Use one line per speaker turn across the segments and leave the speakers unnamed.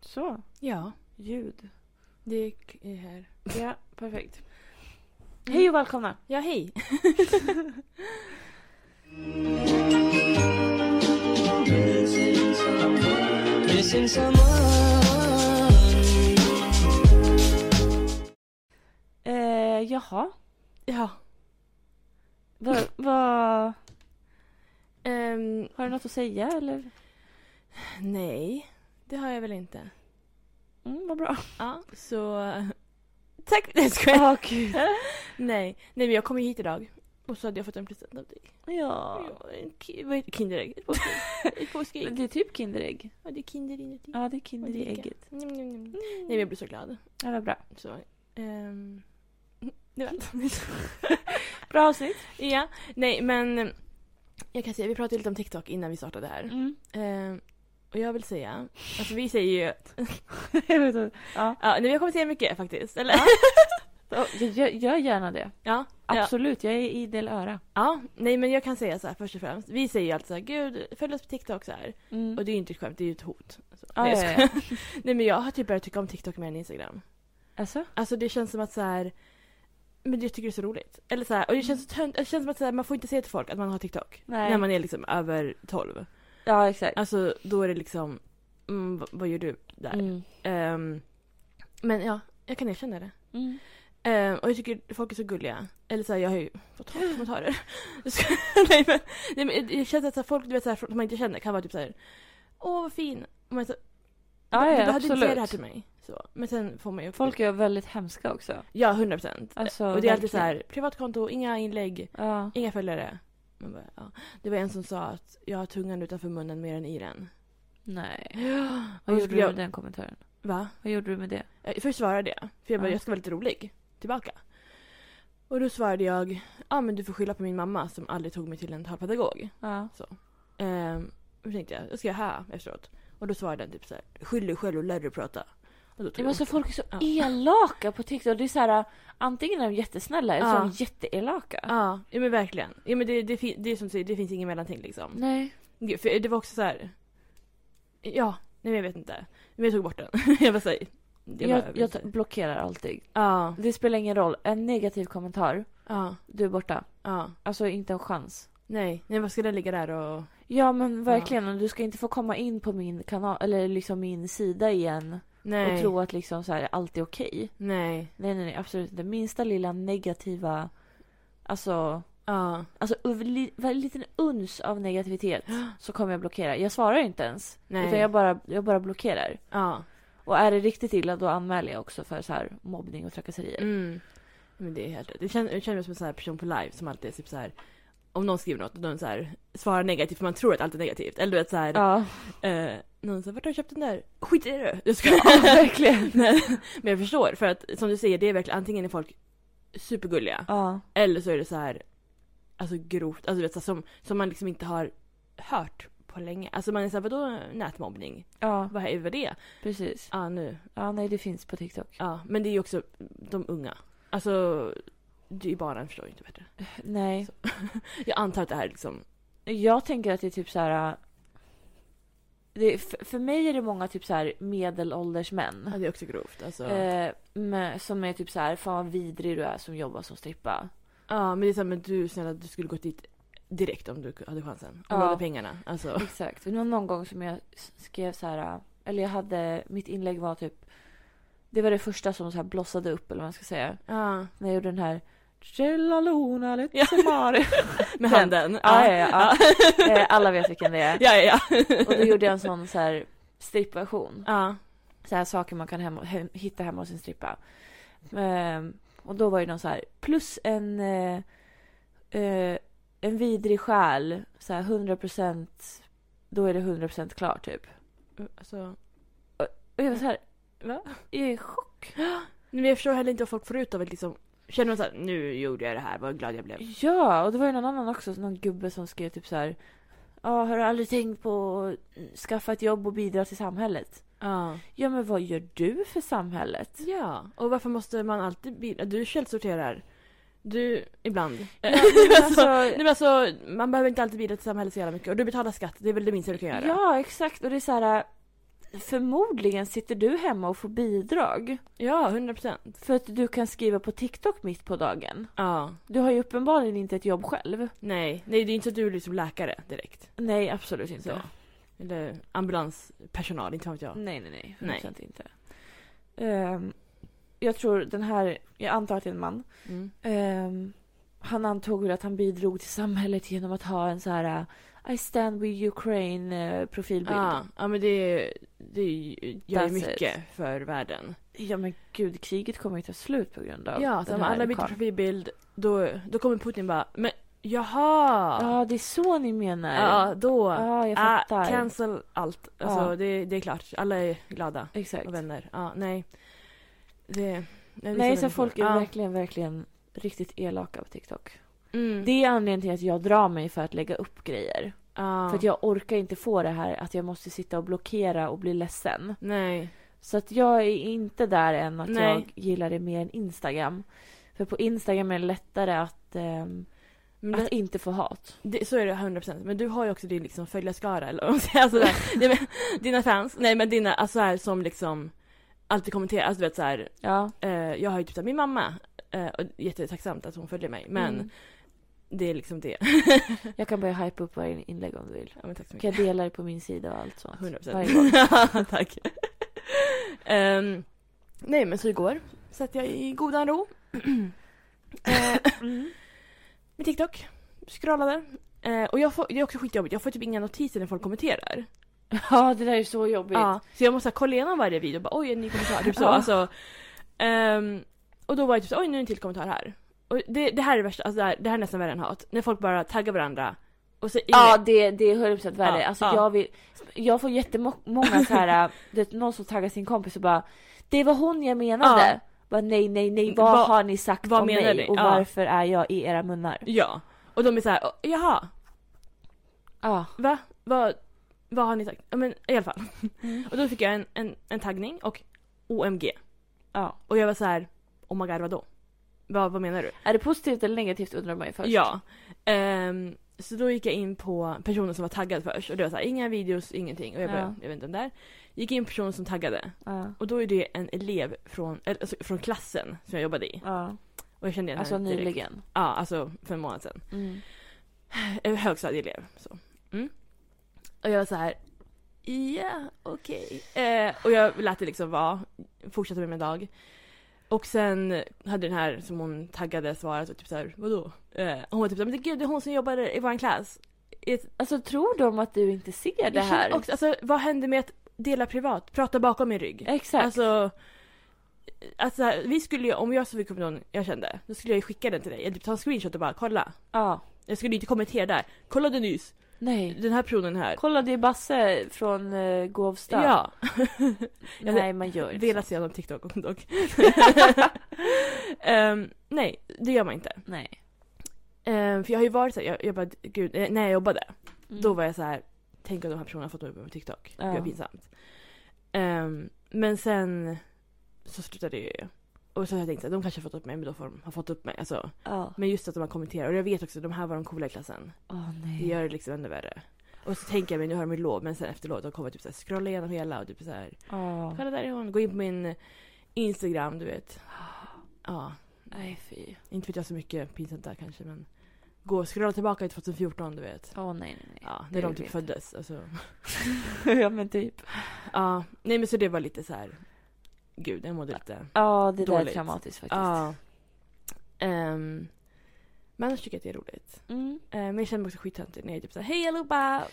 Så,
Ja,
ljud.
det är k- är här.
Ja, perfekt. Hej och välkomna!
Ja, hej.
Missing someone.
Eh, jaha,
Ja.
vad... vad-
Ehm,
har du något att säga eller?
nej, det har jag väl inte.
Mm, vad bra.
Ja, så... Tack! Nej, jag skojar.
Ja, gud.
Nej, nej, men jag kom ju hit idag. Och så hade jag fått en present av dig.
Ja.
Ja, en ki- vad heter det? Kinderägg. Ett påskägg. Ett påskägg.
Det är typ Kinderägg.
Ja, det är kinder inuti.
Ja, det är Kinder i
Och dricka.
ägget.
Mm, mm, mm. Nej, men jag blev så glad.
Ja, vad bra.
Så, ehm, du vet.
Bra avsnitt.
ja, nej men jag kan säga, vi pratade lite om TikTok innan vi startade här.
Mm.
Ehm, och jag vill säga, alltså vi säger ju,
Jag vet inte. ja.
ja nej, vi har kommit säga mycket faktiskt, eller?
Ja. Jag gör, gör gärna det.
Ja, ja.
Absolut, jag är idel öra.
ja, nej men jag kan säga så här först och främst, vi säger ju alltid så här, gud följ oss på TikTok så här.
Mm.
Och det är ju inte ett skämt, det är ju ett hot. Så,
Ja,
nej, jag
ja,
skojar. nej men jag har typ börjat tycka om TikTok mer än Instagram.
Alltså?
Alltså det känns som att så här. Men jag tycker det är så roligt. Eller så här, och det känns, så tönt, det känns som att så här, man får inte säga till folk att man har TikTok.
Nej.
När man är liksom över 12.
Ja, exakt.
Alltså då är det liksom, mm, vad, vad gör du där?
Mm.
Ehm, men ja, jag kan erkänna det.
Mm.
Ehm, och jag tycker folk är så gulliga. Eller så här, jag har ju fått hatkommentarer. Jag ska- nej, men, nej men det känns att så här, folk du vet, så här, som man inte känner kan vara typ så här. Åh vad fin. Och man, så,
Ja,
du
ja,
behövde inte säga det här
absolut.
till mig. Så. Men sen får man ju
Folk är väldigt hemska också.
Ja, 100 procent.
Alltså,
Och det är alltid så
verkligen.
här, privatkonto, inga inlägg,
Ja.
inga följare. Man bara, ja. Det var en som sa att jag har tungan utanför munnen mer än i den.
Nej.
Ja,
Vad gjorde
skulle
du med
jag,
den kommentaren?
va?
Vad gjorde du med det?
Jag- Eh, Först svarade jag, för jag bara,
Ja.
jag ska vara lite rolig. Tillbaka. Och då svarade jag, ja ah, men du får skylla på min mamma som aldrig tog mig till en talpedagog.
Ja.
Ehm, och då tänkte jag, jag ska jag här efteråt. Och då svarade den typ så här, skyll dig själv och lär dig prata. Och då
Ja,
tog
men
jag
så folk är så
Ja.
elaka på TikTok. Det är så här, antingen är de jättesnälla eller så
Ja.
är de jätteelaka.
Ja, ja men verkligen. Ja, men det, det, fin- det är som du säger, det finns ingen mellanting liksom.
Nej.
Gud, för det var också så här. Ja, nej men jag vet inte. Men jag tog bort den. jag bara säger.
Jag, jag, jag t- blockerar alltid.
Ja,
Det spelar ingen roll. En negativ kommentar,
ja,
du är borta.
ja.
Alltså inte en chans.
Nej, nej vad ska den ligga där och...
Ja men verkligen, du ska inte få komma in på min kanal eller liksom min sida igen
Nej,
och tro att liksom så här, allt är okej.
nej,
Nej nej nej, absolut inte. Minsta lilla negativa, alltså,
ja,
alltså uv- li, en liten uns av negativitet så kommer jag blockera. Jag svarar inte ens.
Nej.
Utan jag bara, jag bara blockerar.
ja.
Och är det riktigt illa då anmäler jag också för så här mobbning och trakasserier.
Mm. Men det är helt rätt. Det känns, jag känner mig som en sån här person på live som alltid är typ så här. Om någon skriver något och någon så här svarar negativt för man tror att allt är negativt. Eller du vet så här.
Ja,
Eh, någon sa vart har du köpt den där? Skit i det! Jag ska...
verkligen.
Nej, men jag förstår för att som du säger det är verkligen antingen är folk supergulliga.
Ja.
Eller så är det så här alltså grovt, alltså du vet, så här, som, som man liksom inte har hört på länge. Alltså man är såhär, vadå nätmobbning?
ja,
Vad är vad det? Ja
precis.
ah, nu,
Ja, nej det finns på TikTok.
ja. men det är ju också de unga. Alltså, det är ju barnen förstår ju inte bättre.
Nej.
Jag antar att det här är liksom,
Jag tänker att det är typ så här. äh, Det, för, för mig är det många typ så här medelålders män.
ja det är också grovt alltså. Ja
Eh, med, som är typ så här, fan vad vidrig du är som jobbar som strippa.
men det är såhär, men du snälla du skulle gått dit direkt om du hade chansen. Om
Ja.
du hade pengarna. Alltså.
Exakt. Det var någon gång som jag s- skrev så här, äh, eller jag hade, mitt inlägg var typ, det var det första som så här blossade upp eller vad man ska säga.
Ja.
När jag gjorde den här Cellalona lite
Ja.
sommar. Den.
Med handen.
Ja, ja, ja. ja. Eh, Alla vet vilken det är.
Ja, ja, ja.
Och då gjorde jag en sån så här strippversion.
Ja.
så här saker man kan hemma, he, hitta hemma hos en strippa. Ehm, och då var det någon så här, plus en, eh, eh, en vidrig själ, så här 100%, då är det 100% klar typ.
Alltså,
Och jag var så här,
va?
jag är i chock.
Nej, Men jag förstår heller inte vad folk får ut av att liksom Känner man såhär, nu gjorde jag det här, vad glad jag blev.
Ja, och det var ju någon annan också, någon gubbe som skrev typ så här, ja har du aldrig tänkt på att skaffa ett jobb och bidra till samhället?
Ja.
Ja men vad gör du för samhället?
Ja, och varför måste man alltid bidra? Du källsorterar. Du, ibland.
Ja,
men
men
alltså,
alltså,
nej men alltså, man behöver inte alltid bidra till samhället så jävla mycket. Och du betalar skatt, det är väl det minsta du kan göra?
Ja, exakt. Och det är så här... äh, förmodligen sitter du hemma och får bidrag.
Ja, 100 procent.
För att du kan skriva på TikTok mitt på dagen.
Ja.
Du har ju uppenbarligen inte ett jobb själv.
Nej, nej, det är inte så att du är liksom läkare direkt.
Nej, absolut
Så.
inte.
Eller ambulanspersonal, inte vet jag.
Nej, nej, nej.
Nej.
100% inte. Ehm, jag tror den här, jag antar att det är en man.
Mm.
Ehm, han antog väl att han bidrog till samhället genom att ha en så här eh, I stand with Ukraine eh, profilbild.
Ja, ja, men det, är- det är ju- gör ju
That's it.
mycket för världen.
Ja men gud, kriget kommer ju ta slut på grund av
Ja, så
den
om alla
här
byter
karln.
profilbild, då, då kommer Putin bara men jaha!
Ja, det är så ni menar.
Ja, då.
Ja, jag
Ah,
fattar.
cancel allt. Alltså,
Ja.
det, det är klart. Alla är glada
Exakt.
och vänner. Ja, nej. Det, nej,
Nej,
vissa
så folk är
människor.
verkligen, verkligen riktigt elaka på TikTok.
Ja. Mm.
Det är anledningen till att jag drar mig för att lägga upp grejer.
Ja.
För att jag orkar inte få det här att jag måste sitta och blockera och bli ledsen.
Nej.
Så att jag är inte där än att
Nej.
jag gillar det mer än Instagram. För på Instagram är det lättare att, ehm,
Men
att
det,
inte få hat.
det, så är det 100%. Men du har ju också din liksom, följarskara eller vad man säger. Alltså, där, nej, men, dina fans, nej men dina, alltså här, som liksom alltid kommenterar. Alltså du vet såhär,
Ja.
eh, jag har ju typ såhär, min mamma, eh, och jättetacksamt att hon följer mig. Men
Mm.
det är liksom det.
Jag kan börja hypa upp varje inlägg om du vill.
Ja, men tack så mycket.
Kan jag dela det på min sida och allt sånt.
100
Varje gång.
procent. Tack. Ehm, nej men så igår satt jag i godan ro
Mm.
med TikTok. Scrollade. Eh, och jag får, det är också skitjobbigt, jag får typ inga notiser när folk kommenterar.
Ja, det där är så jobbigt.
Ja, så jag måste kolla igenom varje video och bara oj en ny kommentar. Typ så.
Ja.
Alltså, Ehm, och då var jag typ så oj nu är det en till kommentar här. Och det, det här är det värsta, alltså det här, det här är nästan värre än hat. När folk bara taggar varandra. Och så
Ja, det, det är 100% värre.
Ja,
alltså,
ja.
Jag, vill, jag får jättemånga så här, eh, du vet, någon som taggar sin kompis och bara Det var hon jag menade.
Ja.
Bara, nej, nej, nej, vad
Vad-
har ni sagt
vad
om
menar
mig
ni?
och
Ja.
varför är jag i era munnar?
ja. Och de är så här, "Åh, jaha,
Ja.
Va? Vad, vad har ni sagt? Ja, men i alla fall.
Mm.
Och då fick jag en, en, en taggning och OMG.
ja.
Och jag var så här, oh my god vadå? Vad, vad menar du?
Är det positivt eller negativt undrar man ju först.
Ja. Ehm, så då gick jag in på personen som var taggad först och det var så här, inga videos, ingenting. Och jag bara,
Ja.
jag vet inte om där. Gick in på personen som taggade.
Ja.
Och då är det en elev från, eller, alltså, från klassen som jag jobbade i.
ja.
Och jag kände igen
Alltså
henne direkt.
nyligen.
Ja, alltså för en månad sedan.
Mm.
en eh, högstadieelev. Så. Mm. Och jag var så här. Ja, okej. Eh, och jag lät det liksom vara. Fortsatte med min dag. Och sen hade den här som hon taggade svarat och typ såhär, vadå? Eh, hon var typ såhär, men gud det är hon som jobbar i vår klass. Ett-
Alltså tror de att du inte ser det
jag känner
här?
Också, alltså vad händer med att dela privat? Prata bakom min rygg?
Exakt.
Alltså, alltså så här, vi skulle ju, om jag så fick upp någon jag kände, då skulle jag ju skicka den till dig. Eller typ ta en screenshot och bara kolla.
ja.
Jag skulle ju inte kommentera där. Kollade nyss,
Nej.
den här personen här.
Kolla det är Basse från eh, Gåvsta.
Eh, Ja,
Nej man gör inte
velat
så.
se honom på TikTok dock. Ehm, nej, det gör man inte.
Nej.
Ehm, för jag har ju varit såhär, jag, jag bara, gud, eh, när jag jobbade,
Mm.
då var jag så här: tänk om de här personerna har fått upp mig på TikTok.
Ja.
Gud vad pinsamt. Ehm, men sen så slutade jag ju. Och så har jag tänkt att de kanske har fått upp mig, men då får de, har fått upp mig. Alltså,
Ja.
men just att de har kommenterat, och jag vet också, de här var de coola i klassen.
Åh nej.
Det gör det liksom ännu värre. Och så tänker jag mig, nu har de ju lov, men sen efter lov, de kommer typ såhär scrolla igenom hela och typ såhär
Ja.
Kolla där är hon. Gå in på min eh, Instagram, du vet. Ja,
Nej fy.
inte vet jag så mycket pinsamt där kanske men gå och scrolla tillbaka till 2014, du vet.
Åh nej nej nej.
Ja, när de
det
typ
vet
föddes. Alltså.
ja men typ.
Ja, nej men så det var lite så här. Gud, jag mådde lite.
Ja det där är
Dåligt.
traumatiskt faktiskt.
Ja. Ehm, men annars tycker jag att det är roligt.
Mm.
Eh, men jag känner mig också skittöntig när jag är typ såhär, hej allihopa!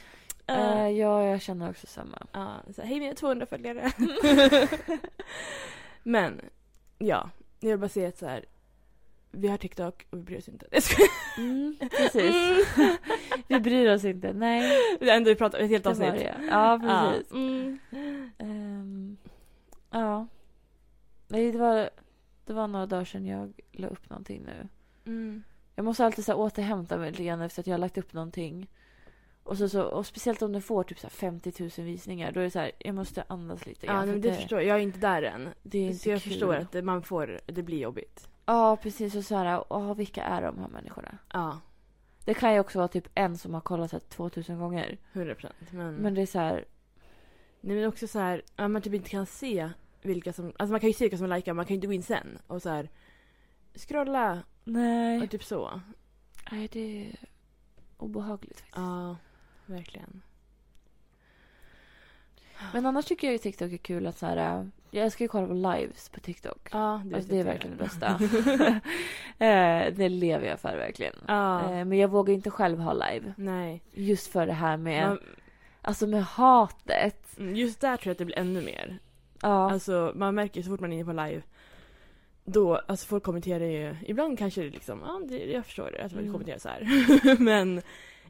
Eh,
Eh, ja jag känner också samma.
Ja, så här, hej mina 200 följare. Men, ja. Jag vill bara säga att så här, vi har TikTok och vi bryr oss inte. Jag skojar.
Mm, precis. Vi bryr oss inte. Nej.
Det enda vi pratar om, ett helt
Det var
avsnitt.
det. Ja precis.
Ja. Mm.
Ehm, ja. Nej det var, det var några dagar sedan jag la upp någonting nu.
Mm.
Jag måste alltid så här, återhämta mig lite grann efter att jag har lagt upp någonting. Och, så, så, och speciellt om den får typ så här 50 000 visningar. Då är det så här, jag måste andas lite
ja
grann.
nej,
för
men det
att
förstår jag. Jag är inte där än.
det är
Så
inte
jag
kul.
förstår att det- man får, det blir jobbigt.
Ja, precis. Och så här, åh, vilka är de här människorna?
Ja,
Det kan ju också vara typ en som har kollat så här 2000 gånger.
Mm. 100 procent. Men,
Men det är så här,
Nej men också så här, att man typ inte kan se vilka som, alltså man kan ju se vilka som likar man kan ju inte gå in sen och så här scrolla
Nej.
och typ så.
Nej, det är obehagligt faktiskt.
Ja, verkligen.
Men annars tycker jag ju TikTok är kul att så här... äh, Jag älskar ju att kolla på lives på TikTok.
Ja,
Det,
det,
alltså, det är verkligen det bästa. Eh, det lever jag för verkligen.
Ja,
Eh, Men jag vågar inte själv ha live.
nej.
Just för det här med,
Man,
alltså med hatet.
mm, just där tror jag att det blir ännu mer.
Ja,
Alltså man märker ju så fort man är inne på live då, alltså folk kommenterar ju, ibland kanske det liksom, ja det, jag förstår det, att man
Mm.
kommenterar så här. Men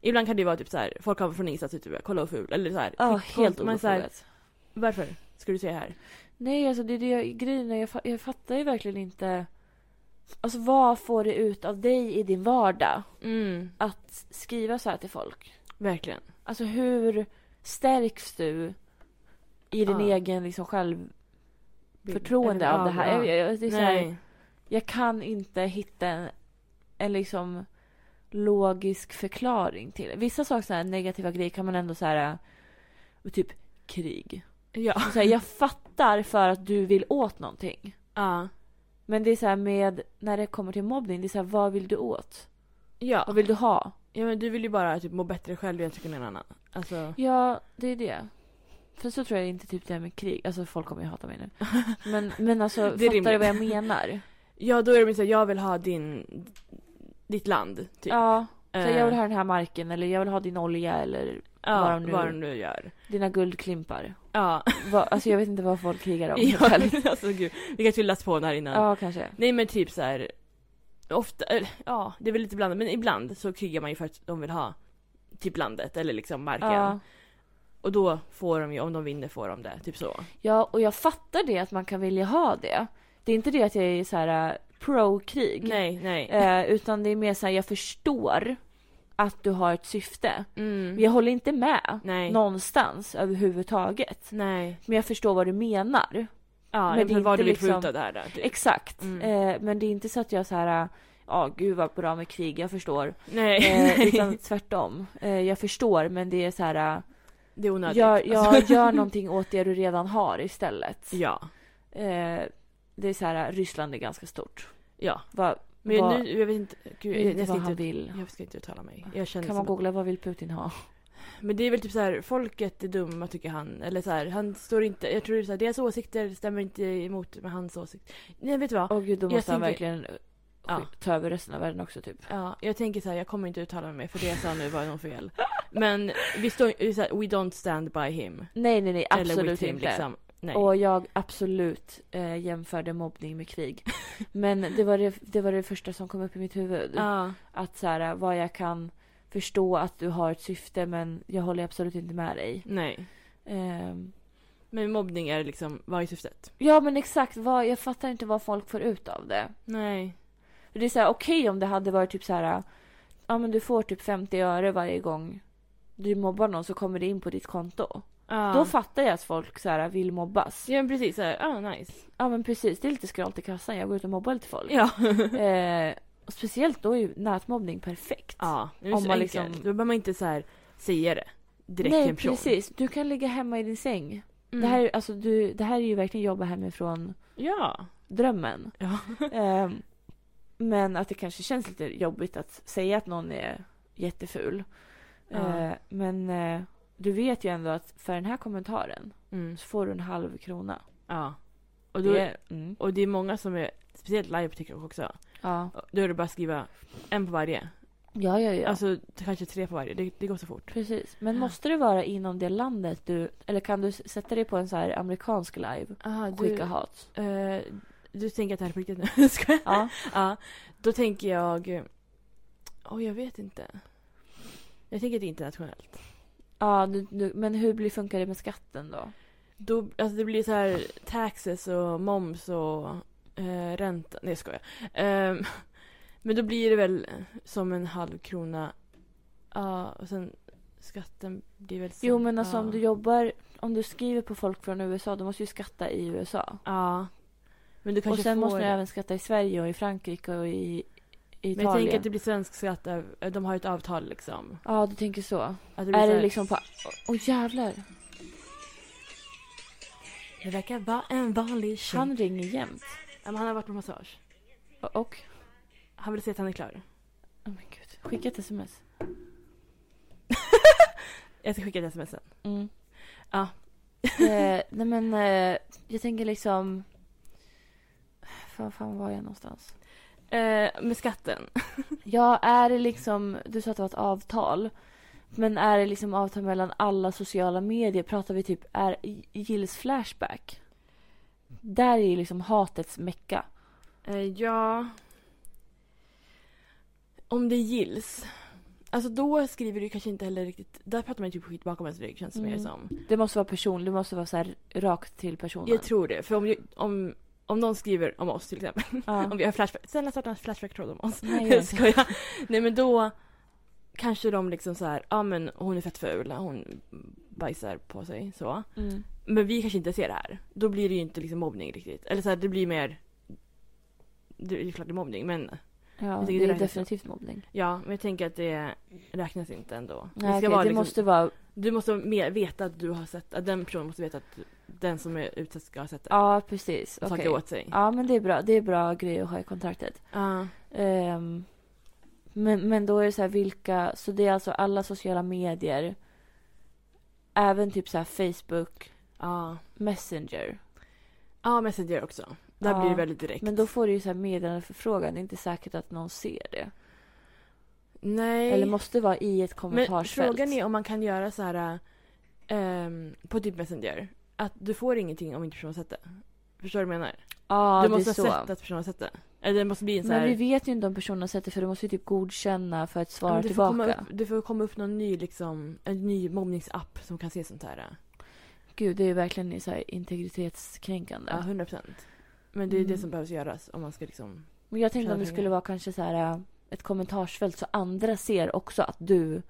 ibland kan det ju vara typ så här, folk har från ingenstans typ kolla vad ful, eller så här.
ja
kon-
helt
man är så här,
obefogat.
Varför ska du säga här?
Nej, alltså det är det jag, grejen är, jag, fa- jag fattar ju verkligen inte. Alltså vad får det ut av dig i din vardag
Mm,
att skriva så här till folk?
verkligen.
Alltså hur stärks du i din
Ja.
egen liksom självförtroende av det här?
Ja.
Jag, jag, det är så här
Nej.
jag kan inte hitta en, en liksom logisk förklaring till det. Vissa saker, så här, negativa grejer kan man ändå så här, äh, typ krig.
Ja.
Så här, jag fattar för att du vill åt någonting.
Ja.
Men det är så här med, när det kommer till mobbning, det är så här, vad vill du åt?
Ja.
Vad vill du ha?
ja, men du vill ju bara typ må bättre själv jag tycker än någon annan. Alltså,
Ja, det är det. För så tror jag inte typ det här med krig, alltså folk kommer ju hata mig nu. Men, men alltså,
Det är
fattar du
rimligt.
vad jag menar?
ja då är det mer såhär, jag vill ha din, ditt land. Typ.
Ja, så här,
Eh,
jag vill ha den här marken eller jag vill ha din olja eller
ja,
vad de nu-
vad de nu gör.
dina guldklimpar.
Ja.
Va, alltså jag vet inte vad folk krigar om. helt
ja
ärligt.
alltså gud, vi kanske vill läsa på den här innan.
ja kanske.
Nej men typ så här. ofta, eller, ja det är väl lite blandat men ibland så krigar man ju för att de vill ha typ landet eller liksom marken.
Ja.
Och då får de ju, om de vinner får de det, typ så.
ja, och jag fattar det att man kan vilja ha det. Det är inte det att jag är så här äh, pro-krig.
Nej, nej.
Eh, utan det är mer så här, jag förstår att du har ett syfte.
Mm.
Men jag håller inte med
Nej.
någonstans överhuvudtaget.
Nej.
Men jag förstår vad du menar.
Ja,
Men
men
det är
vad
inte
du vill få
liksom-
ut av det här då, typ.
Exakt.
Mm.
Eh, men det är inte så att jag så här, äh, ja gud vad bra med krig, jag förstår.
Nej,
Eh, utan tvärtom. Eh, jag förstår men det är så här... äh,
det är onödigt.
Jag, jag
Alltså,
gör någonting åt det du redan har istället.
ja,
Eh, det är så här, Ryssland är ganska stort.
ja.
Vad,
Men
vad,
nu, jag vet inte, gud,
vet
jag,
inte
jag, ska
vad han
inte,
vill.
jag ska inte uttala mig. Jag känner
Kan man
som,
googla vad vill Putin ha?
men det är väl typ så här, folket är dumma tycker han. Eller så här, han står inte, jag tror det är så här, deras åsikter stämmer inte emot med hans åsikt. Nej, vet du vad?
Åh gud, då
Jag
måste han
tänker-
verkligen eh,
Ja.
ta över resten av världen också typ.
Ja, jag tänker så här, jag kommer inte uttala mig för det jag sa nu var nog fel. Men vi står ju så här, we don't stand by him.
Nej, nej, nej,
Eller
absolut
with him,
inte.
liksom. Nej.
Och jag absolut eh, jämförde mobbning med krig. Men det var det, det var det första som kom upp i mitt huvud.
ja,
Att så här, vad jag kan förstå att du har ett syfte men jag håller absolut inte med dig.
nej.
Ehm,
Men mobbning är liksom, vad är syftet?
Ja men exakt, vad, jag fattar inte vad folk får ut av det.
Nej.
För Det är så här, okej om det hade varit typ så här, ja men du får typ 50 öre varje gång du mobbar någon så kommer det in på ditt konto.
Ja.
Då fattar jag att folk så här vill mobbas.
Ja men precis, såhär, ah nice.
Ja men precis, det är lite skralt i kassan, jag går ut och mobbar lite folk.
Ja.
Eh, och speciellt då är ju nätmobbning perfekt.
ja, nu är
Om
det så
man
enkelt.
liksom-
Då behöver man inte såhär säga det direkt till
Nej
en person.
precis, du kan ligga hemma i din säng.
Mm.
Det, här, är- alltså, du, det här är ju verkligen jobba hemifrån
Ja.
drömmen.
Ja.
Ehm, men att det kanske känns lite jobbigt att säga att någon är jätteful.
Ja.
Ehm, men eh, du vet ju ändå att för den här kommentaren
Mm.
så får du en halv krona.
Ja. Och, då,
Det, mm,
och det är många som är, speciellt live på TikTok också.
ja.
Då är det bara att skriva en på varje.
ja, ja, ja.
Alltså kanske tre på varje, det, det går så fort.
Precis. Men måste det vara inom det landet du... Eller kan du s- sätta dig på en så här amerikansk live
Aha,
och skicka hat?
Eh, du tänker att det här är på riktigt nu? Ska jag?
Ja.
Ja. Då tänker jag... Åh, jag vet inte. Jag tänker att det är internationellt.
ja du, du, men hur blir, funkar det med skatten då?
Då, alltså det blir så här taxes och moms och eh, ränta. Nej, jag skojar. Ehm, men då blir det väl som en halv krona. Ja, och sen skatten blir väl... Som,
Jo, men alltså
ja.
om du jobbar... Om du skriver på folk från USA, då måste du ju skatta i USA.
Ja. Men du kanske
och sen
får...
måste man även skatta i Sverige och i Frankrike och i, i
men jag
Italien.
tänker att det blir svensk skatt. över- De har ju ett avtal liksom.
Ja, du tänker så.
Att det blir
är liksom
så
det
här-
liksom på... Åh jävlar.
Det verkar vara en vanlig tjej. Han,
Han ringer jämt.
ja, men han har varit på massage.
Och? och
Han vill se att han är klar.
oh men gud. Skicka ett sms.
Jag ska skicka ett sms sen.
Mm.
Ja.
eh, nej men eh, jag tänker liksom... Fan, fan var jag någonstans?
Eh, med skatten.
Ja, är det liksom... Du sa att det var ett avtal. Men är det liksom avtal mellan alla sociala medier? Pratar vi typ... Är, gills Flashback? Där är ju liksom hatets mecka.
Eh, ja... Om det gills. Alltså då skriver du kanske inte heller riktigt... Där pratar man ju typ skit bakom ens rygg känns det mer
Mm.
som.
Det måste vara person. Det måste vara så här rakt till personen.
Jag tror det. För om, ju- om, om någon skriver om oss till exempel.
ja.
Om vi har flashback. Snälla starta en flashback-tråd om oss.
Nej,
Jag
jag
skojar. Nej men då kanske de liksom så här, ja ah, men hon är fett ful, hon bajsar på sig så.
Mm.
Men vi kanske inte ser det här. Då blir det ju inte liksom mobbning riktigt. Eller så här, det blir mer, det är ju klart det är mobbning men
Ja,
tycker
det
det
är
räknas
definitivt mobbning.
ja, men jag tänker att det räknas inte ändå.
Nej,
det
okej, det
liksom-
måste vara...
Du måste mer veta att du har sett, att den personen måste veta att den som är utsatt ska ha sett det.
Ja, precis.
och
Okej.
tagit åt sig.
Ja, men det är bra. Det är bra grej att ha i kontraktet.
Ja.
Ehm, men, men då är det så här vilka, så det är alltså alla sociala medier. Även typ så här Facebook,
Ja,
Messenger.
ja Messenger också. Där
Ja.
blir det väldigt direkt.
Men då får du ju så här meddelandeförfrågan, det är inte säkert att någon ser det.
Nej.
Eller måste vara i ett
Men
kommentarsfält.
frågan är om man kan göra så här ehm, på typ Messenger. Att du får ingenting om inte personen har sett det. Förstår du vad jag menar?
ja,
du
det är
måste
så.
ha sett att personen har sett det. Eller det måste bli en så
Men vi
här...
vet ju inte om personen har sett det för du måste ju typ godkänna för att svara
Ja, men det, får komma
tillbaka.
upp, det får komma upp någon ny liksom, en ny mobbningsapp som kan se sånt här.
Gud, det är ju verkligen så här integritetskränkande.
Ja, 100 procent. Men det är det
Mm.
som behövs göras om man ska liksom...
Men jag tänkte om det
Förstår
skulle
jag.
vara kanske så här äh, ett kommentarsfält så andra ser också att du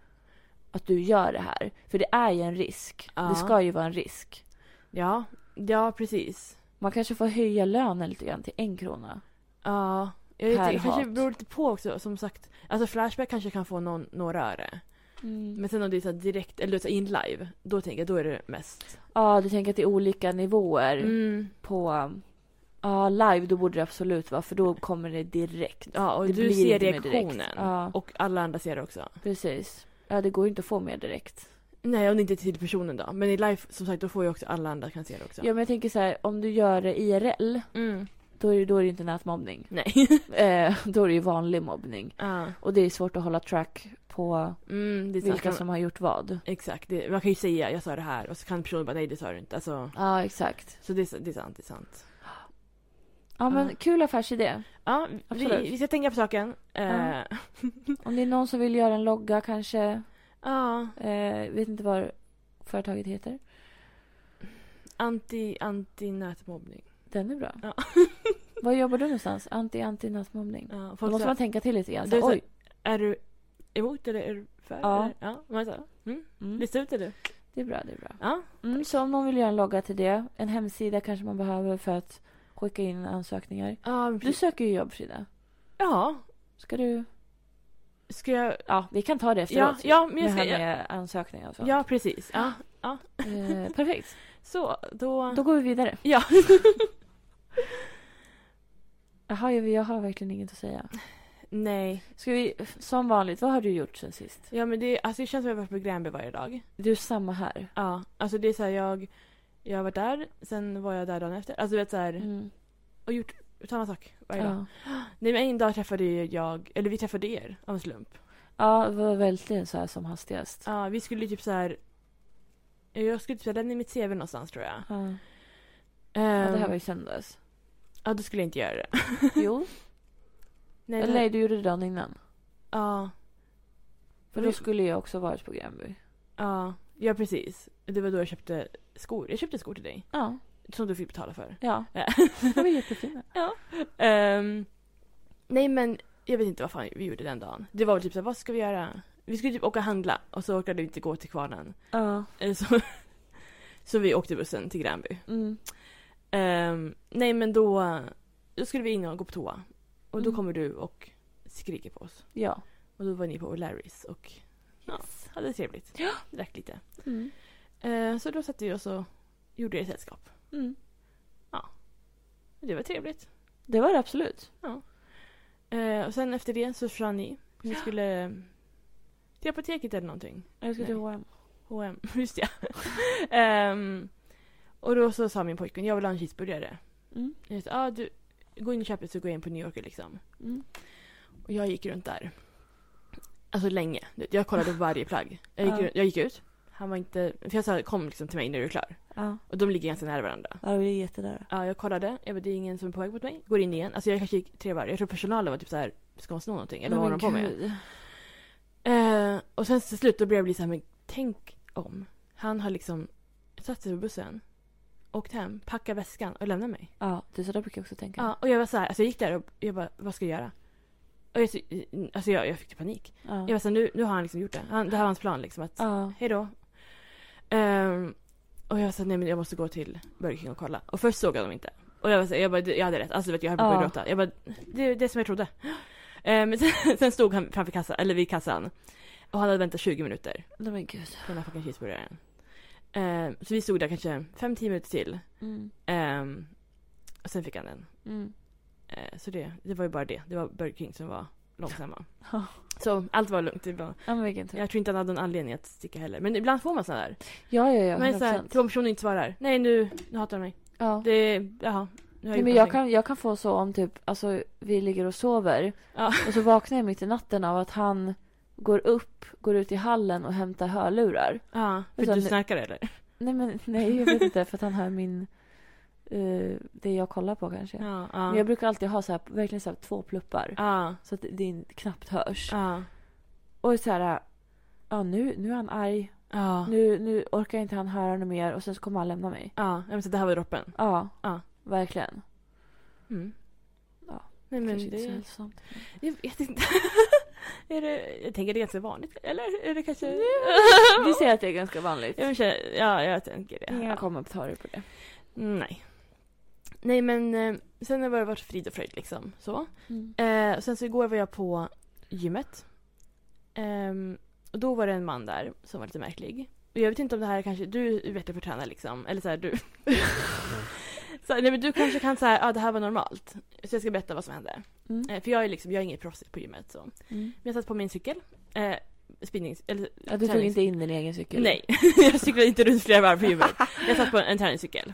att du gör det här. För det är ju en risk.
Ja.
Det ska ju vara en risk.
Ja, ja precis.
Man kanske får höja lönen lite grann till en krona.
Ja. Jag vet,
Per
inte, det kanske
hat.
beror lite på också som sagt. Alltså Flashback kanske kan få någon, några öre.
Mm.
Men sen om det är så här direkt, eller så här in live, då tänker jag då är det mest.
Ja, du tänker att det är olika nivåer
Mm.
på... um, Ja, live då borde det absolut vara för då kommer det direkt.
Ja, och
Det
du
blir
ser
inte mer direkt.
reaktionen.
Ja.
Och alla andra ser det också.
Precis. Ja, det går ju inte att få mer direkt.
Nej, om det inte är till personen då. Men i live, som sagt, då får ju också alla andra kan se det också.
Ja, men jag tänker så här, om du gör det IRL,
Mm.
då är det, då är det inte nätmobbning.
Nej.
Eh, då är det ju vanlig mobbning.
ja.
Och det är svårt att hålla track på
mm, det är
vilka
sant.
som har gjort vad.
Exakt. Det, man kan ju säga jag sa det här och så kan personen bara nej det sa du inte. Alltså,
Ja, exakt.
så det, är- det är sant, det är sant.
Ja, men
Ja.
kul affärsidé.
Ja, vi,
Absolut.
vi ska tänka på saken. Eh,
Ja.
Ja.
Om det är någon som vill göra en logga kanske.
ja.
Eh, vet inte vad företaget heter.
Anti, anti nätmobbning.
Den är bra.
Ja.
Var jobbar du någonstans? Anti, anti nätmobbning.
Ja,
Då
folk
måste
sa,
man tänka till lite grann.
Det är
Så,
så-
Oj.
är du emot eller är du för?
Ja.
Eller? ja man sa, mm,
Mm.
lista ut eller?
Det är bra, det är bra.
Ja.
Mm, så om någon vill göra en logga till det. En hemsida kanske man behöver för att skicka in ansökningar.
Ja, men
Du
precis.
söker ju jobb, Frida.
ja.
Ska du...
Ska jag
Ja, vi kan ta det
Ja,
efteråt.
ja, men
det
jag
här
ska, ja,
med ansökningar och sånt.
ja, precis. Ja.
Eh, perfekt.
Så, då...
Då går vi vidare.
Ja.
Jaha, jag, jag har verkligen inget att säga.
Nej.
Ska vi, som vanligt, vad har du gjort sen sist?
Ja, men det, alltså, det känns som jag har varit på Gränby varje dag.
Du är samma här.
Ja. Alltså det är så här, jag... Jag har varit där, sen var jag där dagen efter. Alltså du vet så här,
Mm.
och gjort samma sak varje dag.
Ja.
Nej men en dag träffade ju jag, eller vi träffade er av en slump.
ja, det var verkligen så här som hastigast.
Ja, vi skulle ju typ så här. Jag skulle typ så här, lämna mitt CV någonstans tror jag.
Ja.
Ehm,
Ja, det här var i söndags.
ja, då skulle jag inte göra det.
Jo,
Nej,
eller
det-
nej, du gjorde det dagen innan.
Ja.
För då skulle jag också varit på Gränby.
Ja, ja precis. Det var då jag köpte skor. Jag köpte skor till dig.
Ja,
Som du fick betala för.
ja.
Ja.
De var jättefina.
Ehm, nej men jag vet inte vad fan vi gjorde den dagen. Det var väl typ såhär, vad ska vi göra? Vi skulle typ åka och handla och så orkade vi inte gå till kvarnen.
Ja.
Eh, Så, så vi åkte bussen till Gränby.
Mm.
Ehm, nej men då, då skulle vi in och gå på toa. Och då
Mm.
kommer du och skriker på oss.
Ja.
Och då var ni på O'Larrys och ja, hade det trevligt.
Ja.
Drack lite. Ehm,
Mm.
Eh, så då satte vi oss och gjorde det sällskap.
Mm.
Det var trevligt.
Det var det absolut.
Eh, och sen efter det så försvann ni. Ni skulle eh, till apoteket eller någonting.
Jag ska till
Nej.
H&M.
H&M, just ja. Ehm, och då så sa min pojkvän, jag vill ha en cheeseburgare.
Mm.
Jag sa, ah, du gå in i köpet så går jag in på New Yorker liksom.
Mm.
Och jag gick runt där. Alltså länge. Du vet, Jag kollade på varje plagg. Jag gick,
Ja.
runt- jag gick ut. Han var inte... För jag sa kom liksom till mig när du är klar.
Ja.
Och de ligger ganska nära varandra.
ja, det blir jättenära.
Ja, jag kollade. Jag bara, det är ingen som är på väg mot mig. Går in igen. Alltså jag kanske gick tre varv. Jag tror personalen var typ så här, ska hon sno någonting? Eller vad har de på med?
gud.
Eh, och sen till slut då började jag bli så här, men tänk om. Han har liksom satt sig på bussen, åkt hem, packat väskan och lämnat mig.
Ja, det är så där brukar jag också tänka.
Ja, och jag var så här, alltså jag gick där och jag bara, vad ska jag göra? Och jag, alltså jag, jag fick panik.
Ja.
Jag var så här, nu, nu har han liksom gjort det. Han, det här var hans plan liksom att,
ja.
hej då. Ehm, och jag sa, nej men jag måste gå till Burger King och kolla. Och först såg jag dem inte. Och jag var så här, jag bara, jag hade rätt. Alltså vet, du, jag höll på att
Ja.
börja gråta. Jag bara, det är det är som jag trodde. Ehm, Men sen, sen stod han framför kassan, eller vid kassan. Och han hade väntat 20 minuter
Nej men gud.
på den här fucking cheeseburgaren. Ehm, så vi stod där kanske 5-10 minuter till.
Mm.
Ehm, och sen fick han den.
Mm.
Eh, Så det, det var ju bara det. Det var Burger King som var långsamma.
Ja.
Så allt var lugnt. Det var,
Ja men vilken tur.
jag tror inte han hade någon anledning att sticka heller. Men ibland får man sådana där.
Ja, ja, ja.
Men så här,
100%.
till om personen inte svarar. Nej nu, nu hatar han mig.
Ja.
Det, jaha. Nu har
Nej,
gjort
men jag,
någonting.
kan, jag kan få så om typ, alltså vi ligger och sover
Ja.
och så vaknar jag mitt i natten av att han går upp, går ut i hallen och hämtar hörlurar.
Ja,
Så
för att du
Alltså, nu-
snarkar eller?
Nej men nej jag vet inte för att han hör min, eh, det jag kollar på kanske.
Ja.
Men
Ja.
jag brukar alltid ha så här, verkligen så här två pluppar.
Ja.
Så att det- det är knappt hörs.
Ja.
Och så här, ja nu, nu är han arg.
Ja.
Nu, nu orkar inte han höra något mer och sen så kommer han lämna mig.
Ja, men så det här var droppen.
Ja,
Ja.
verkligen.
Mm.
Ja,
Nej men
Kanske inte så
det...
hälsosamt.
Jag vet inte. är det... Jag tänker det är ganska vanligt. Eller är det kanske...
Vi säger att det är ganska vanligt.
Jag vill säga- ja, jag tänker det.
Inga
Ja.
kommentarer på det.
Nej. Nej men eh, sen har det bara varit frid och fröjd liksom. Så.
Mm.
Eh, och sen så igår var jag på gymmet. Ehm, och då var det en man där som var lite märklig. Och jag vet inte om det här kanske, du är bättre på att träna liksom. Eller så här, du. så, nej men du kanske kan säga, ja ah, det här var normalt. Så jag ska berätta vad som hände.
Mm.
Eh, för jag är liksom, jag är inget proffs på gymmet så. Men
Mm.
jag satt på min cykel. Eh, spinnings, eller
Ja, du tog
tränings-
inte in din egen cykel?
Nej, jag cyklade inte runt flera varv på gymmet. Jag satt på en träningscykel.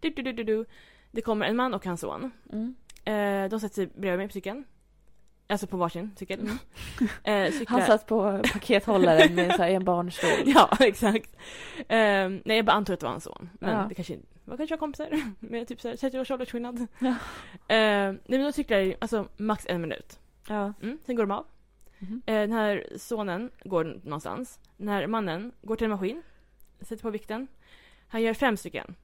Du, du, du, du, du. Det kommer en man och hans son.
Mm.
Eh, de sätter sig bredvid mig på cykeln. Alltså på varsin cykel.
Mm.
Eh, cyklar-
Han satt på pakethållaren med så här, en barnstol.
Ja, exakt. Eh, nej, jag bara antog att det var hans son. Men
Ja.
det kanske inte var kanske var kompisar med typ så här 30 års åldersskillnad.
Ja.
Eh, nej, men de cyklar i, alltså max en minut.
Ja.
Mm, sen går de av.
Mhm.
Eh, den här sonen går någonstans. Den här mannen går till en maskin, sätter på vikten. Han gör fem stycken.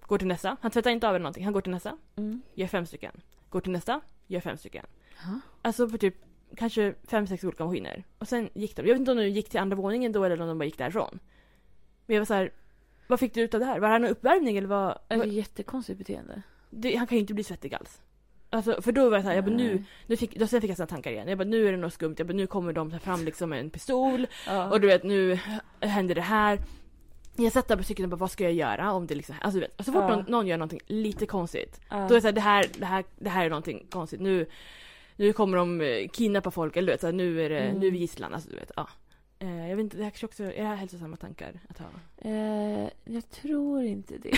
Går till nästa. Han tvättar inte av eller någonting. Han går till nästa,
Mm.
gör fem stycken. Går till nästa, gör fem stycken. Alltså för typ kanske fem, sex olika maskiner. Och sen gick de. Jag vet inte om de gick till andra våningen då eller om de bara gick därifrån. Men jag var så här, vad fick du ut av det här? Var det här någon uppvärmning eller vad?
Det är ett jättekonstigt beteende.
Det, han kan ju inte bli svettig alls. Alltså, för då var jag såhär, jag bara,
Mm.
nu, nu fick, då sen fick jag såna tankar igen. Jag bara nu är det något skumt, jag bara, nu kommer de ta fram liksom en pistol
Ja.
och du vet nu händer det här. Jag satt där på cykeln och bara vad ska jag göra om det liksom, alltså du vet. Så fort
Ja.
någon, någon gör någonting lite konstigt,
ja.
då är det såhär det här, det här, det här är någonting konstigt. Nu, nu kommer de eh, kidnappa folk eller du vet, så här, nu är det,
Mm.
nu är vi gisslan, alltså du vet. Ja. Eh, Jag vet inte, det här kanske också, är det här hälsosamma tankar att ha?
eh, jag tror inte det.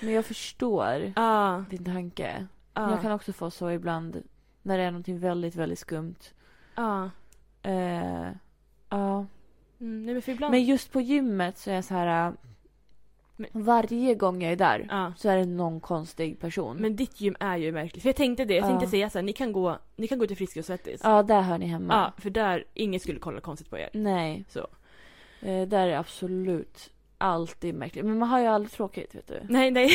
Men jag förstår
Ja.
din tanke.
Ja.
Jag kan också få så ibland när det är någonting väldigt, väldigt skumt.
Ja.
Eh, ja.
Mm, Nej men för ibland.
Men just på gymmet så är jag så här... eh,
Men-
Varje gång jag är där
Ja.
så är det någon konstig person.
Men ditt gym är ju märkligt. För jag tänkte det, jag tänkte
Ja.
säga såhär, ni kan gå, ni kan gå till Friskis och Svettis.
Ja, där hör ni hemma.
Ja, för där, ingen skulle kolla konstigt på er.
Nej.
Så.
Eh, där är det absolut alltid märkligt. Men man har ju aldrig tråkigt, vet du.
Nej, nej.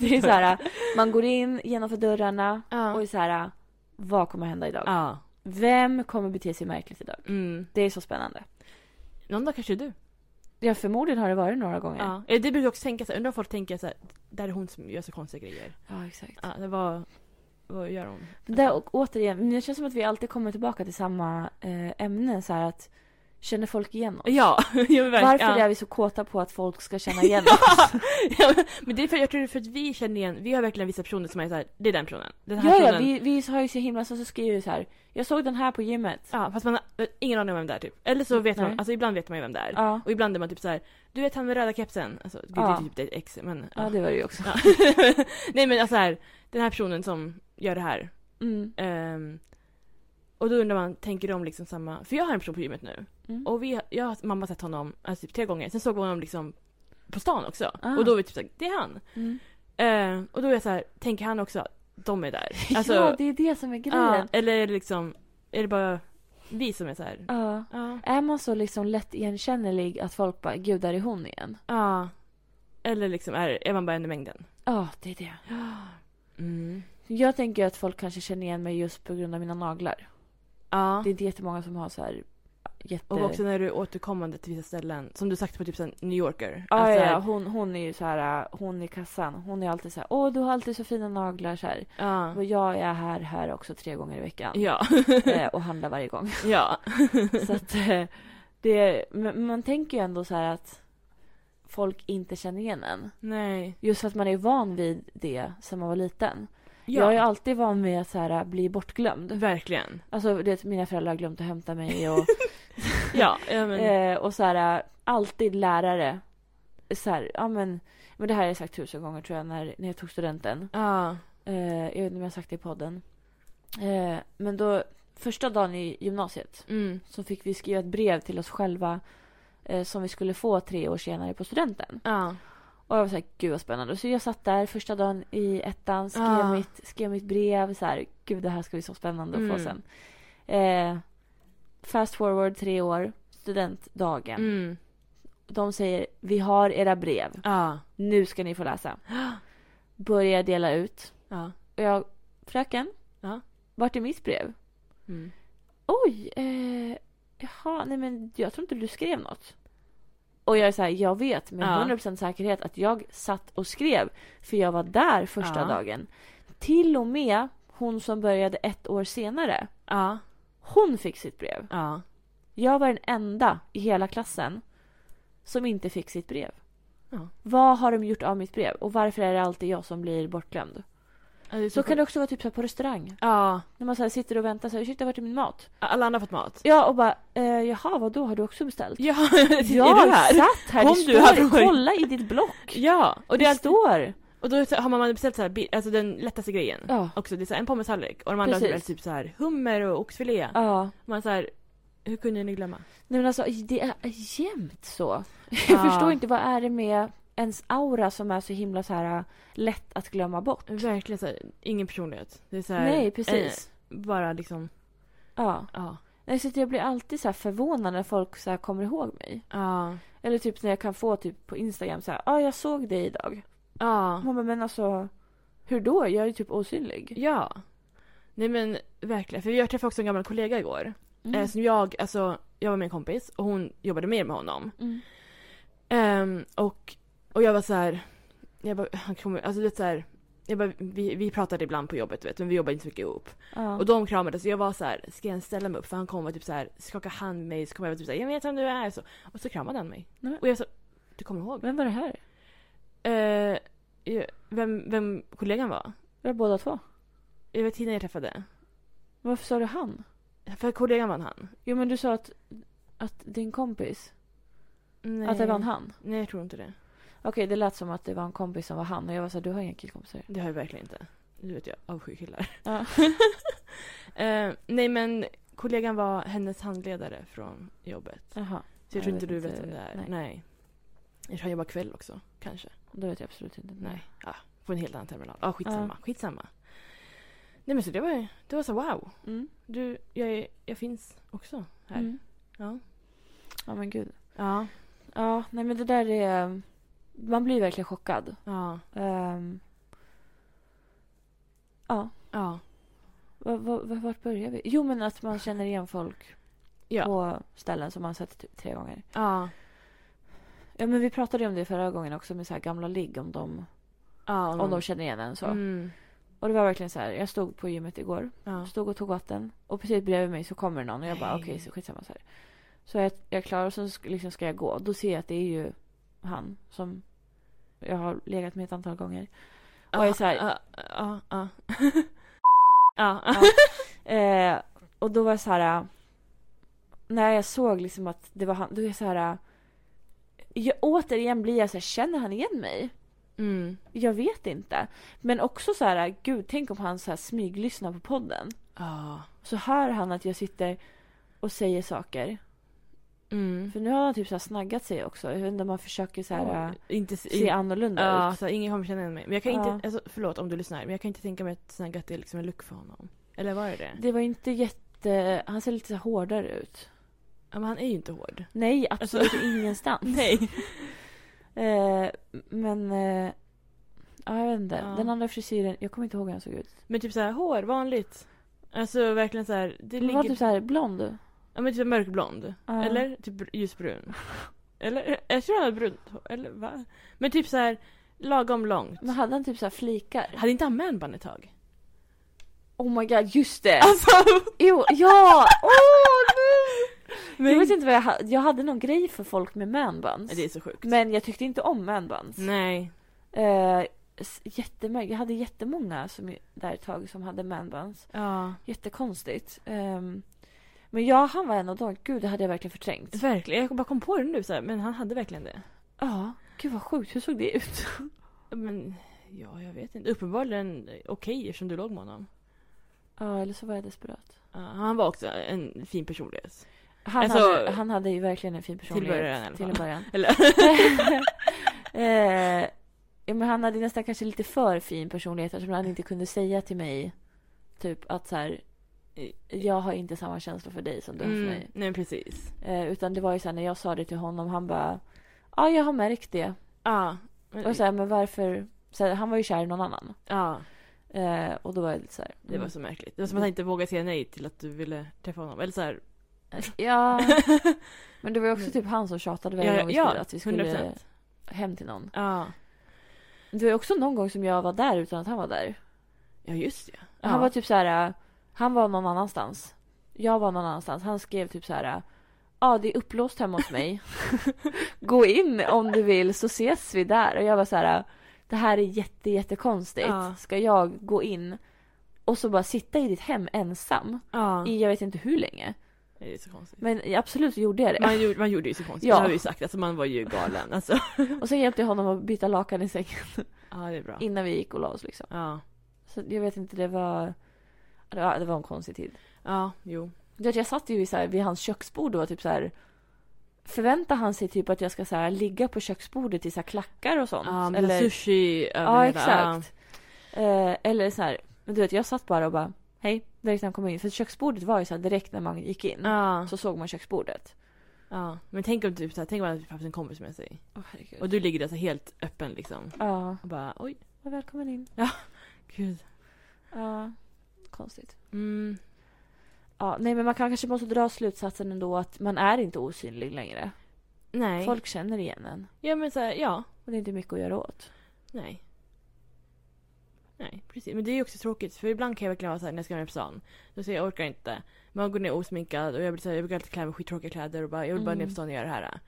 Det är så här, eh, man går in genomför dörrarna
Ja.
och är så här, eh, vad kommer hända idag?
ja.
Vem kommer bete sig märkligt idag?
Mm.
Det är så spännande.
Någon dag kanske du.
Ja, förmodligen har det varit några gånger.
Ja. Eh, Det brukar jag också tänka såhär, undrar om folk tänker såhär, där är hon som gör så konstiga grejer.
ja exakt.
Ja, det var, vad gör hon?
Det där, och återigen, men det känns som att vi alltid kommer tillbaka till samma eh, ämnen. Så här att Känner folk igen oss?
Ja, jag vill
Varför
verkligen-
är vi så kåta på att folk ska känna igen
Ja.
oss?
Ja, men- Men det är för, jag tror det är för att vi känner igen, vi har verkligen vissa personer som är såhär, det är den personen. Den här
Ja, ja,
personen.
vi, vi har ju så himla så, så skriver vi så här. Jag såg den här på gymmet.
Ja, fast man har ingen aning om vem det är typ. Eller så vet
Nej.
man, alltså ibland vet man ju vem det är.
Ja,
Och ibland är man typ så här: du vet han med röda kepsen? Alltså, gud,
Ja.
det är typ ett ex, men...
ja det var det ju också.
Ja. Nej men alltså här, den här personen som gör det här.
Mm.
ehm, och då undrar man, tänker de liksom samma... För jag har en person på gymmet nu.
Mm.
Och vi, jag har mamma har sett honom alltså, typ tre gånger. Sen såg vi honom liksom på stan också.
Ah.
Och då var vi typ såhär, det är han.
Mm.
Eh, och då är jag så här, tänker han också, de är där. Alltså,
ja, det är det som är grejen.
ja, eller är det liksom, är det bara vi som är så här?
Ja.
Ja.
Är man så liksom lätt igenkännlig att folk bara, gud där är hon igen.
Ja. Eller liksom, är, är man bara en i mängden?
Ja, det är det.
Mm.
Jag tänker att folk kanske känner igen mig just på grund av mina naglar.
Ja.
Det är inte jättemånga som har så här jätte...
Och också när du är återkommande till vissa ställen. Som du sagt på typ sån New Yorker.
Ja,
Alltså,
Ah, ja, ja, hon, hon är ju så här, äh, hon i kassan, hon är alltid så här, åh du har alltid så fina naglar så här.
ja.
Och jag är här, här också tre gånger i veckan.
Ja.
Eh, Och handlar varje gång.
ja.
Så att eh, det, men man tänker ju ändå så här att folk inte känner igen en.
Nej.
Just för att man är van vid det sedan man var liten. Jag är ju
Ja.
alltid van med att så här, äh, bli bortglömd.
Verkligen.
Alltså du vet, mina föräldrar har glömt att hämta mig och,
Ja. ja men,
eh, och så här, alltid lärare. Så här, ja men, men det här har jag sagt tusen gånger tror jag när, när jag tog studenten.
ja.
Eh, jag vet inte om jag har sagt det i podden. Eh, men då, första dagen i gymnasiet
Mm.
så fick vi skriva ett brev till oss själva eh, som vi skulle få tre år senare på studenten.
Ja.
Och jag var såhär, gud vad spännande. Så jag satt där första dagen i ettan, skrev,
Ah.
mitt, skrev mitt brev. Så här, gud det här ska bli så spännande att få
Mm.
sen. Eh, fast forward tre år, studentdagen.
Mm.
De säger, vi har era brev.
Ja.
Nu ska ni få läsa. Börjar dela ut.
Ja.
Och jag, fröken,
Ja.
vart är mitt brev?
Mm.
Oj, eh, jaha, nej men jag tror inte du skrev något. Och jag är så här, jag vet med
Ja.
100% säkerhet att jag satt och skrev. För jag var där första
Ja.
dagen. Till och med hon som började ett år senare,
Ja.
hon fick sitt brev.
Ja.
Jag var den enda i hela klassen som inte fick sitt brev.
Ja.
Vad har de gjort av mitt brev? Och varför är det alltid jag som blir bortglömd?
Ja, det är
Så kan det också vara typ så här på restaurang.
Ja.
När man så här sitter och väntar så här, ursäkta vart är min mat?
Alla andra har fått mat.
Ja och bara, eh, jaha vadå har du också beställt?
Ja,
Jag
är du här?
satt här,
Kom
det
du här
står,
från-
kolla i ditt block.
Ja, och
Och
det
det,
är alltid,
står.
och då har man beställt så här, bi- alltså den lättaste grejen.
Ja.
Också, det är så här, en pommestallrik och de andra har
Precis.
beställt typ så här hummer och oxfilé.
Ja.
Man så här, hur kunde ni glömma?
Nej men alltså det är jämt så.
Ja.
Jag förstår inte vad är det med ens aura som är så himla så här äh, lätt att glömma bort.
Verkligen så här, ingen personlighet. Det är så här,
Nej precis.
eh, bara liksom,
Ja.
ja.
Nej, så att jag blir alltid så här förvånad när folk så här kommer ihåg mig.
Ja.
Eller typ när jag kan få typ på Instagram så här, ja ah, jag såg dig idag.
Ja.
Man bara, men alltså hur då? Jag är ju typ osynlig.
Ja. Nej men verkligen, för jag träffade också en gammal kollega igår.
Mm.
Eh, som jag, alltså, jag var med en kompis och hon jobbade mer med honom.
Mm.
Ehm, och, och jag var så här, jag bara, han kommer, alltså du vet så här, jag bara, vi, vi pratade ibland på jobbet du vet, men vi jobbade inte så mycket ihop.
Ja.
Och de kramades och jag var så här, ska jag ens ställa mig upp? För han kom och typ så här, skakade hand med mig, så kom jag och typ så här, jag vet vem du är. Så, och så kramade han mig.
Nej, men-
Och jag sa, du kommer ihåg?
Vem var det här?
Eh, jag- vem, vem kollegan var?
Det var båda två.
Jag vet innan jag träffade.
Varför sa du han?
För kollegan vann han.
Jo men du sa att, att din kompis,
Nej.
att det var han.
Nej jag tror inte det.
Okej det lät som att det var en kompis som var han och jag var såhär, du har inga killkompisar.
Det har jag verkligen inte. Nu vet jag avskyr killar.
Ja.
Eh, nej men kollegan var hennes handledare från jobbet.
Jaha,
Så jag
Jag
tror inte
vet inte,
du vet vem det är.
nej.
Nej. Jag tror han jobbar kväll också, kanske.
då vet jag absolut inte.
Nej. Ja, på en helt annan terminal. Ja, skitsamma. Skitsamma. Nej men så det var ju- det var så wow.
Mm.
Du, jag, är- jag finns också här.
Mm.
Ja.
Ja men gud.
Ja.
Ja, nej men det där är, man blir verkligen chockad.
Ja.
Ehm, ja,
Ja.
va, va, va, vart börjar vi? Jo men att man känner igen folk
Ja.
på ställen som man sett typ tre gånger.
Ja.
Ja men vi pratade ju om det förra gången också med så här gamla ligg om de,
ja.
om de känner igen en så.
Mm.
Och det var verkligen så här, jag stod på gymmet igår
Ja.
Stod och tog vatten och precis bredvid mig så kommer någon och jag bara
Nej.
okej så skitsamma så här. Så jag, jag är klar och så sk- liksom ska jag gå. Då ser jag att det är ju han som jag har legat med ett antal gånger. Och jag är så här-
Ja, ja, ja. Ja, ah. ja.
Eh, och då var jag så här... eh, När jag såg liksom att det var han, då är jag så här... eh, Jag, återigen blir jag så här, känner han igen mig?
Mm.
Jag vet inte. Men också så här, gud tänk om han så här smyglyssnar på podden.
Ja.
Så hör han att jag sitter och säger saker.
Mm.
För nu har han typ så här snaggat sig också. Jag vet inte om han försöker så här, eh,
Inte
se annorlunda
Ja,
ut.
alltså, ingen kommer känna igen mig. Men jag kan inte,
Ja.
alltså, förlåt om du lyssnar, men jag kan inte tänka mig att snaggat är liksom en look för honom. Eller var det det?
Det var inte jätte... Han ser lite så här hårdare ut.
Ja, men han är ju inte hård.
Nej, absolut ingenstans.
Alltså- Nej.
Eh, men... Eh, ja, jag vet inte.
Ja.
Den andra frisyren, jag kommer inte ihåg hur han såg ut.
Men typ så här hår, vanligt. Alltså verkligen så här, det
Den
ligger...
var typ såhär blond.
Ja men typ mörkblond.
Ja.
Eller typ br- ljusbrun. Eller, jag tror han hade brunt hår. Eller va? Men typ så här lagom långt.
Men hade han typ såhär flikar?
Hade inte han manbun ett tag?
Oh my god, just det!
Alltså!
Jo, ja! Åh
Men,
nej! Jag vet inte vad jag hade. Jag hade någon grej för folk med manbuns.
Nej, Det är så sjukt.
Men jag tyckte inte om manbuns.
Nej.
Eh, s- jättemö- jag hade jättemånga som, där ett tag som hade manbuns.
Ja.
Jättekonstigt. Ehm, men ja, han var en av dem. Gud, det hade jag verkligen förträngt.
Verkligen, jag bara kom på det nu så här, men han hade verkligen det.
Ja, gud vad sjukt. Hur såg det ut?
Men ja, jag vet inte. Uppenbarligen okej eftersom du låg med honom.
Ja, eller så var jag desperat.
Ja, han var också en fin personlighet.
Han,
Alltså-
hade, han hade ju verkligen en fin personlighet.
början i alla
Till
fall.
början.
Eller?
eh, ja, men han hade nästan kanske lite för fin personlighet eftersom han inte kunde säga till mig typ att så här, "Eh, jag har inte samma känslor för dig som du har för mig.
Mm, nej precis.
Eh, utan det var ju så här, när jag sa det till honom, han bara ja, jag har märkt det.
Ja. men-
Och så här, men varför? Så här, han var ju kär i någon annan.
ja,
Eh, och då var jag lite så här. mm.
det var så märkligt. Det var som att han inte vågade säga nej till att du ville träffa honom. Eller så här,
Eh, Ja. Men det var ju också typ han som tjatade varje gång vi skulle, att vi skulle
100%.
hem till någon.
Ja.
Det var ju också någon gång som jag var där utan att han var där.
ja, just det. Ja.
Han var typ så här. äh, Han var någon annanstans. Jag var någon annanstans. Han skrev typ så här. äh, Ja, det är upplåst hemma hos mig. Gå in om du vill så ses vi där. Och jag var så här. äh, Det här är jätte, jättekonstigt.
Ja.
Ska jag gå in och så bara sitta i ditt hem ensam
ja.
i jag vet inte hur länge.
Det är så konstigt.
Men absolut gjorde jag det.
Man gjorde, man gjorde ju så konstigt.
Ja.
Det har vi ju sagt. Alltså, man var ju galen. Alltså.
Och sen hjälpte jag honom att byta lakan i sängen
Ja, det är bra.
innan vi gick och la oss liksom.
Ja.
Så jag vet inte, det var... Det var, det var en konstig tid.
Ja, jo.
Du vet, jag satt ju vid, så här, vid hans köksbord och var typ så här... Förväntar han sig typ att jag ska så här, ligga på köksbordet i så här, klackar och sånt?
Ja,
eller...
eller... sushi över
Ja,
hela-
exakt. Eh, eller så här... Men du vet, jag satt bara och bara hej, direkt när han kom in. För köksbordet var ju så här direkt när man gick in.
Ja.
Så såg man köksbordet.
ja. Men tänk om typ så här, tänk om han hade haft en kompis med sig. Och du ligger där så helt öppen liksom.
Ja,
Och bara oj,
var välkommen in.
gud.
Ja, konstigt.
Mm.
Ja, nej men man kan, kanske måste dra slutsatsen ändå att man är inte osynlig längre.
Nej.
Folk känner igen en.
Ja men så här, ja.
Och det är inte mycket att göra åt.
Nej. Nej, precis. Men det är ju också tråkigt för ibland kan jag verkligen vara såhär när jag ska vara på stan. Då säger jag jag orkar inte. Man går ner osminkad och jag blir såhär, jag brukar alltid klä mig i skittråkiga kläder och bara jag vill bara
Mm.
ner på stan och göra det här.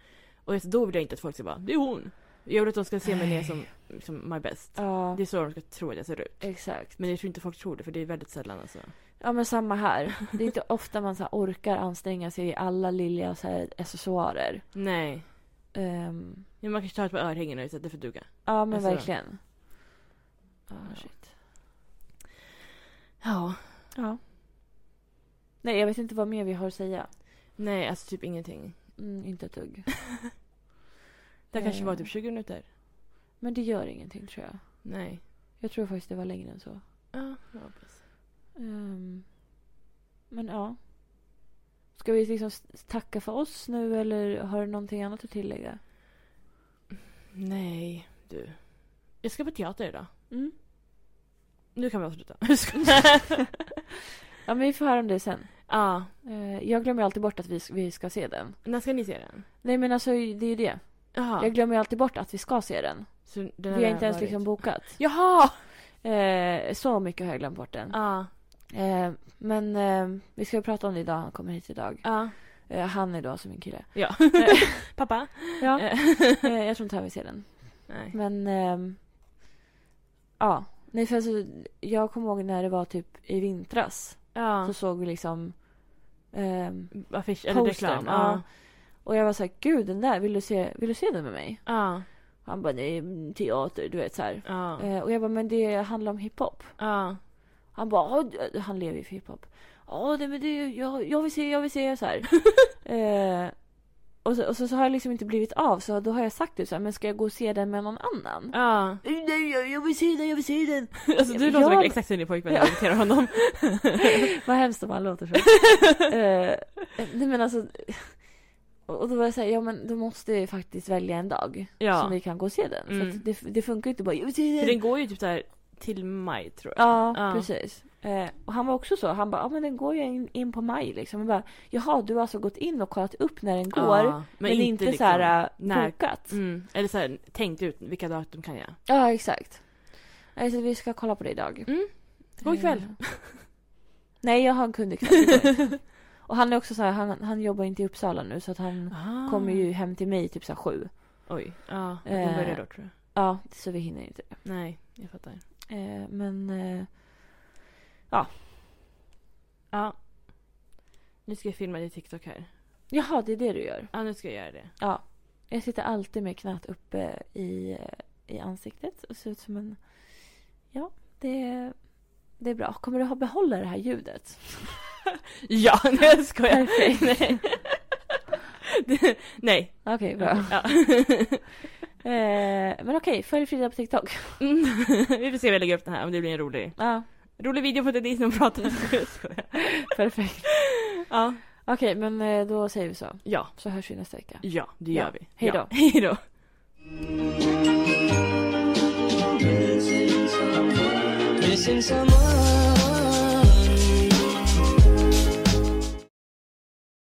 Och alltså, då vill jag inte att folk ska bara det är hon. Jag vill att de ska se mig ner som, som my best.
Ja,
Det är så de ska tro att jag ser ut.
exakt.
Men jag tror inte folk tror det för det är väldigt sällan alltså.
Ja men samma här. Det är inte ofta man så här orkar anstränga sig i alla lilla så här accessoarer.
Nej.
Ehm,
Ja, man kanske tar ett par örhängen och istället för duga.
ja men
Alltså-
verkligen. Ja,
Ja.
shit.
Ja.
Ja. Nej jag vet inte vad mer vi har att säga.
Nej, alltså typ ingenting.
Mm, inte ett dugg.
Det kanske
Eh.
var typ 20 minuter.
Men det gör ingenting tror jag.
Nej.
Jag tror faktiskt det var längre än så.
Ja, jag hoppas.
Ehm, men ja. Ska vi liksom s- tacka för oss nu eller har du någonting annat att tillägga?
Nej, du. Jag ska på teater idag.
Mm.
Nu kan vi avsluta.
Ja men vi får höra om det sen.
ja.
Eh, Jag glömmer alltid bort att vi, vi ska se den.
När ska ni se den?
Nej men alltså det är ju det.
Jaha.
Jag glömmer alltid bort att vi ska se den.
Så den
vi har inte ens liksom bokat.
Jaha!
Eh, så mycket har jag glömt bort den.
Ja.
Eh, men eh, vi ska ju prata om det idag, han kommer hit idag.
Ja.
Eh, han är då alltså min kille.
Ja. Pappa?
Ja.
Eh,
Eh, jag tror inte han vill se den.
Nej.
Men... ehm, ja. Nej, för alltså, jag kommer ihåg när det var typ i vintras.
Ja.
Så såg vi liksom... ehm,
Affisch eller
Postern,
reklam.
ja. och jag var såhär, gud den där, vill du se, vill du se den med mig?
Ja.
Han bara, nej, mm, teater, du vet så här.
Ja.
Eh, och jag bara, men det handlar om hiphop.
Ja.
Han bara, "Ja, du-" han lever ju för hiphop. Ja, det men det, jag, jag vill se, jag vill se, så här. eh, och så, och så, så har jag liksom inte blivit av, så då har jag sagt det så här, men ska jag gå och se den med någon annan?
Ja.
"Eh, Nej, jag, jag vill se den, jag vill se den!
Alltså du
Ja.
låter verkligen exakt som din pojkvän när
Ja.
du imiterar honom.
Vad hemskt om han låter så. eh, nej men alltså. Och och då var jag såhär, ja men då måste jag faktiskt välja en dag
Ja.
som vi kan gå och se den.
Mm.
För att det, det funkar ju inte bara, jag vill se
För
den!
den går ju typ så här till maj tror jag.
Ja,
Ja.
precis. Eh, och han var också så. Han bara, ja men den går ju in, in på maj liksom. Jag bara, Jaha, du har alltså gått in och kollat upp när den går.
Ja, liksom
men, inte, så här
när-
när... bokat.
Mm. Eller så här, tänkt ut vilka datum kan jag?
Ja, exakt. Nej, så vi ska kolla på det idag.
Mm. God kväll.
Eh, Nej, jag har en kund ikväll. det går inte. och han är också så här, han, han jobbar inte i Uppsala nu så att han
Ah.
kommer ju hem till mig typ så här sju.
Oj. Ja,
Eh.
den börjar då tror jag.
Ja, så vi hinner inte.
Nej, jag fattar.
Eh, men eh,
Ja. Nu ska jag filma din TikTok här.
jaha, det är det du gör.
Ja, nu ska jag göra det.
Jag sitter alltid med knät uppe i, eh, i ansiktet och ser ut som en... Ja, det, det är bra. Kommer du ha behålla det här ljudet?
Ja, nej jag skojar.
Perfekt.
Nej. Det- nej.
Okej, bra.
Ja.
Eh, men okej, följ Frida på TikTok.
Mm. Vi får se vad jag lägger upp den här, om det blir en rolig.
Ja,
Rolig video på det ni som pratar. Jag skojar.
perfekt.
Ja.
Okej, men eh, då säger vi så.
Ja.
Så hörs vi nästa vecka.
Ja, det
Ja.
gör vi.
Hej då.
Ja. Hej då.
Missing someone, missing someone.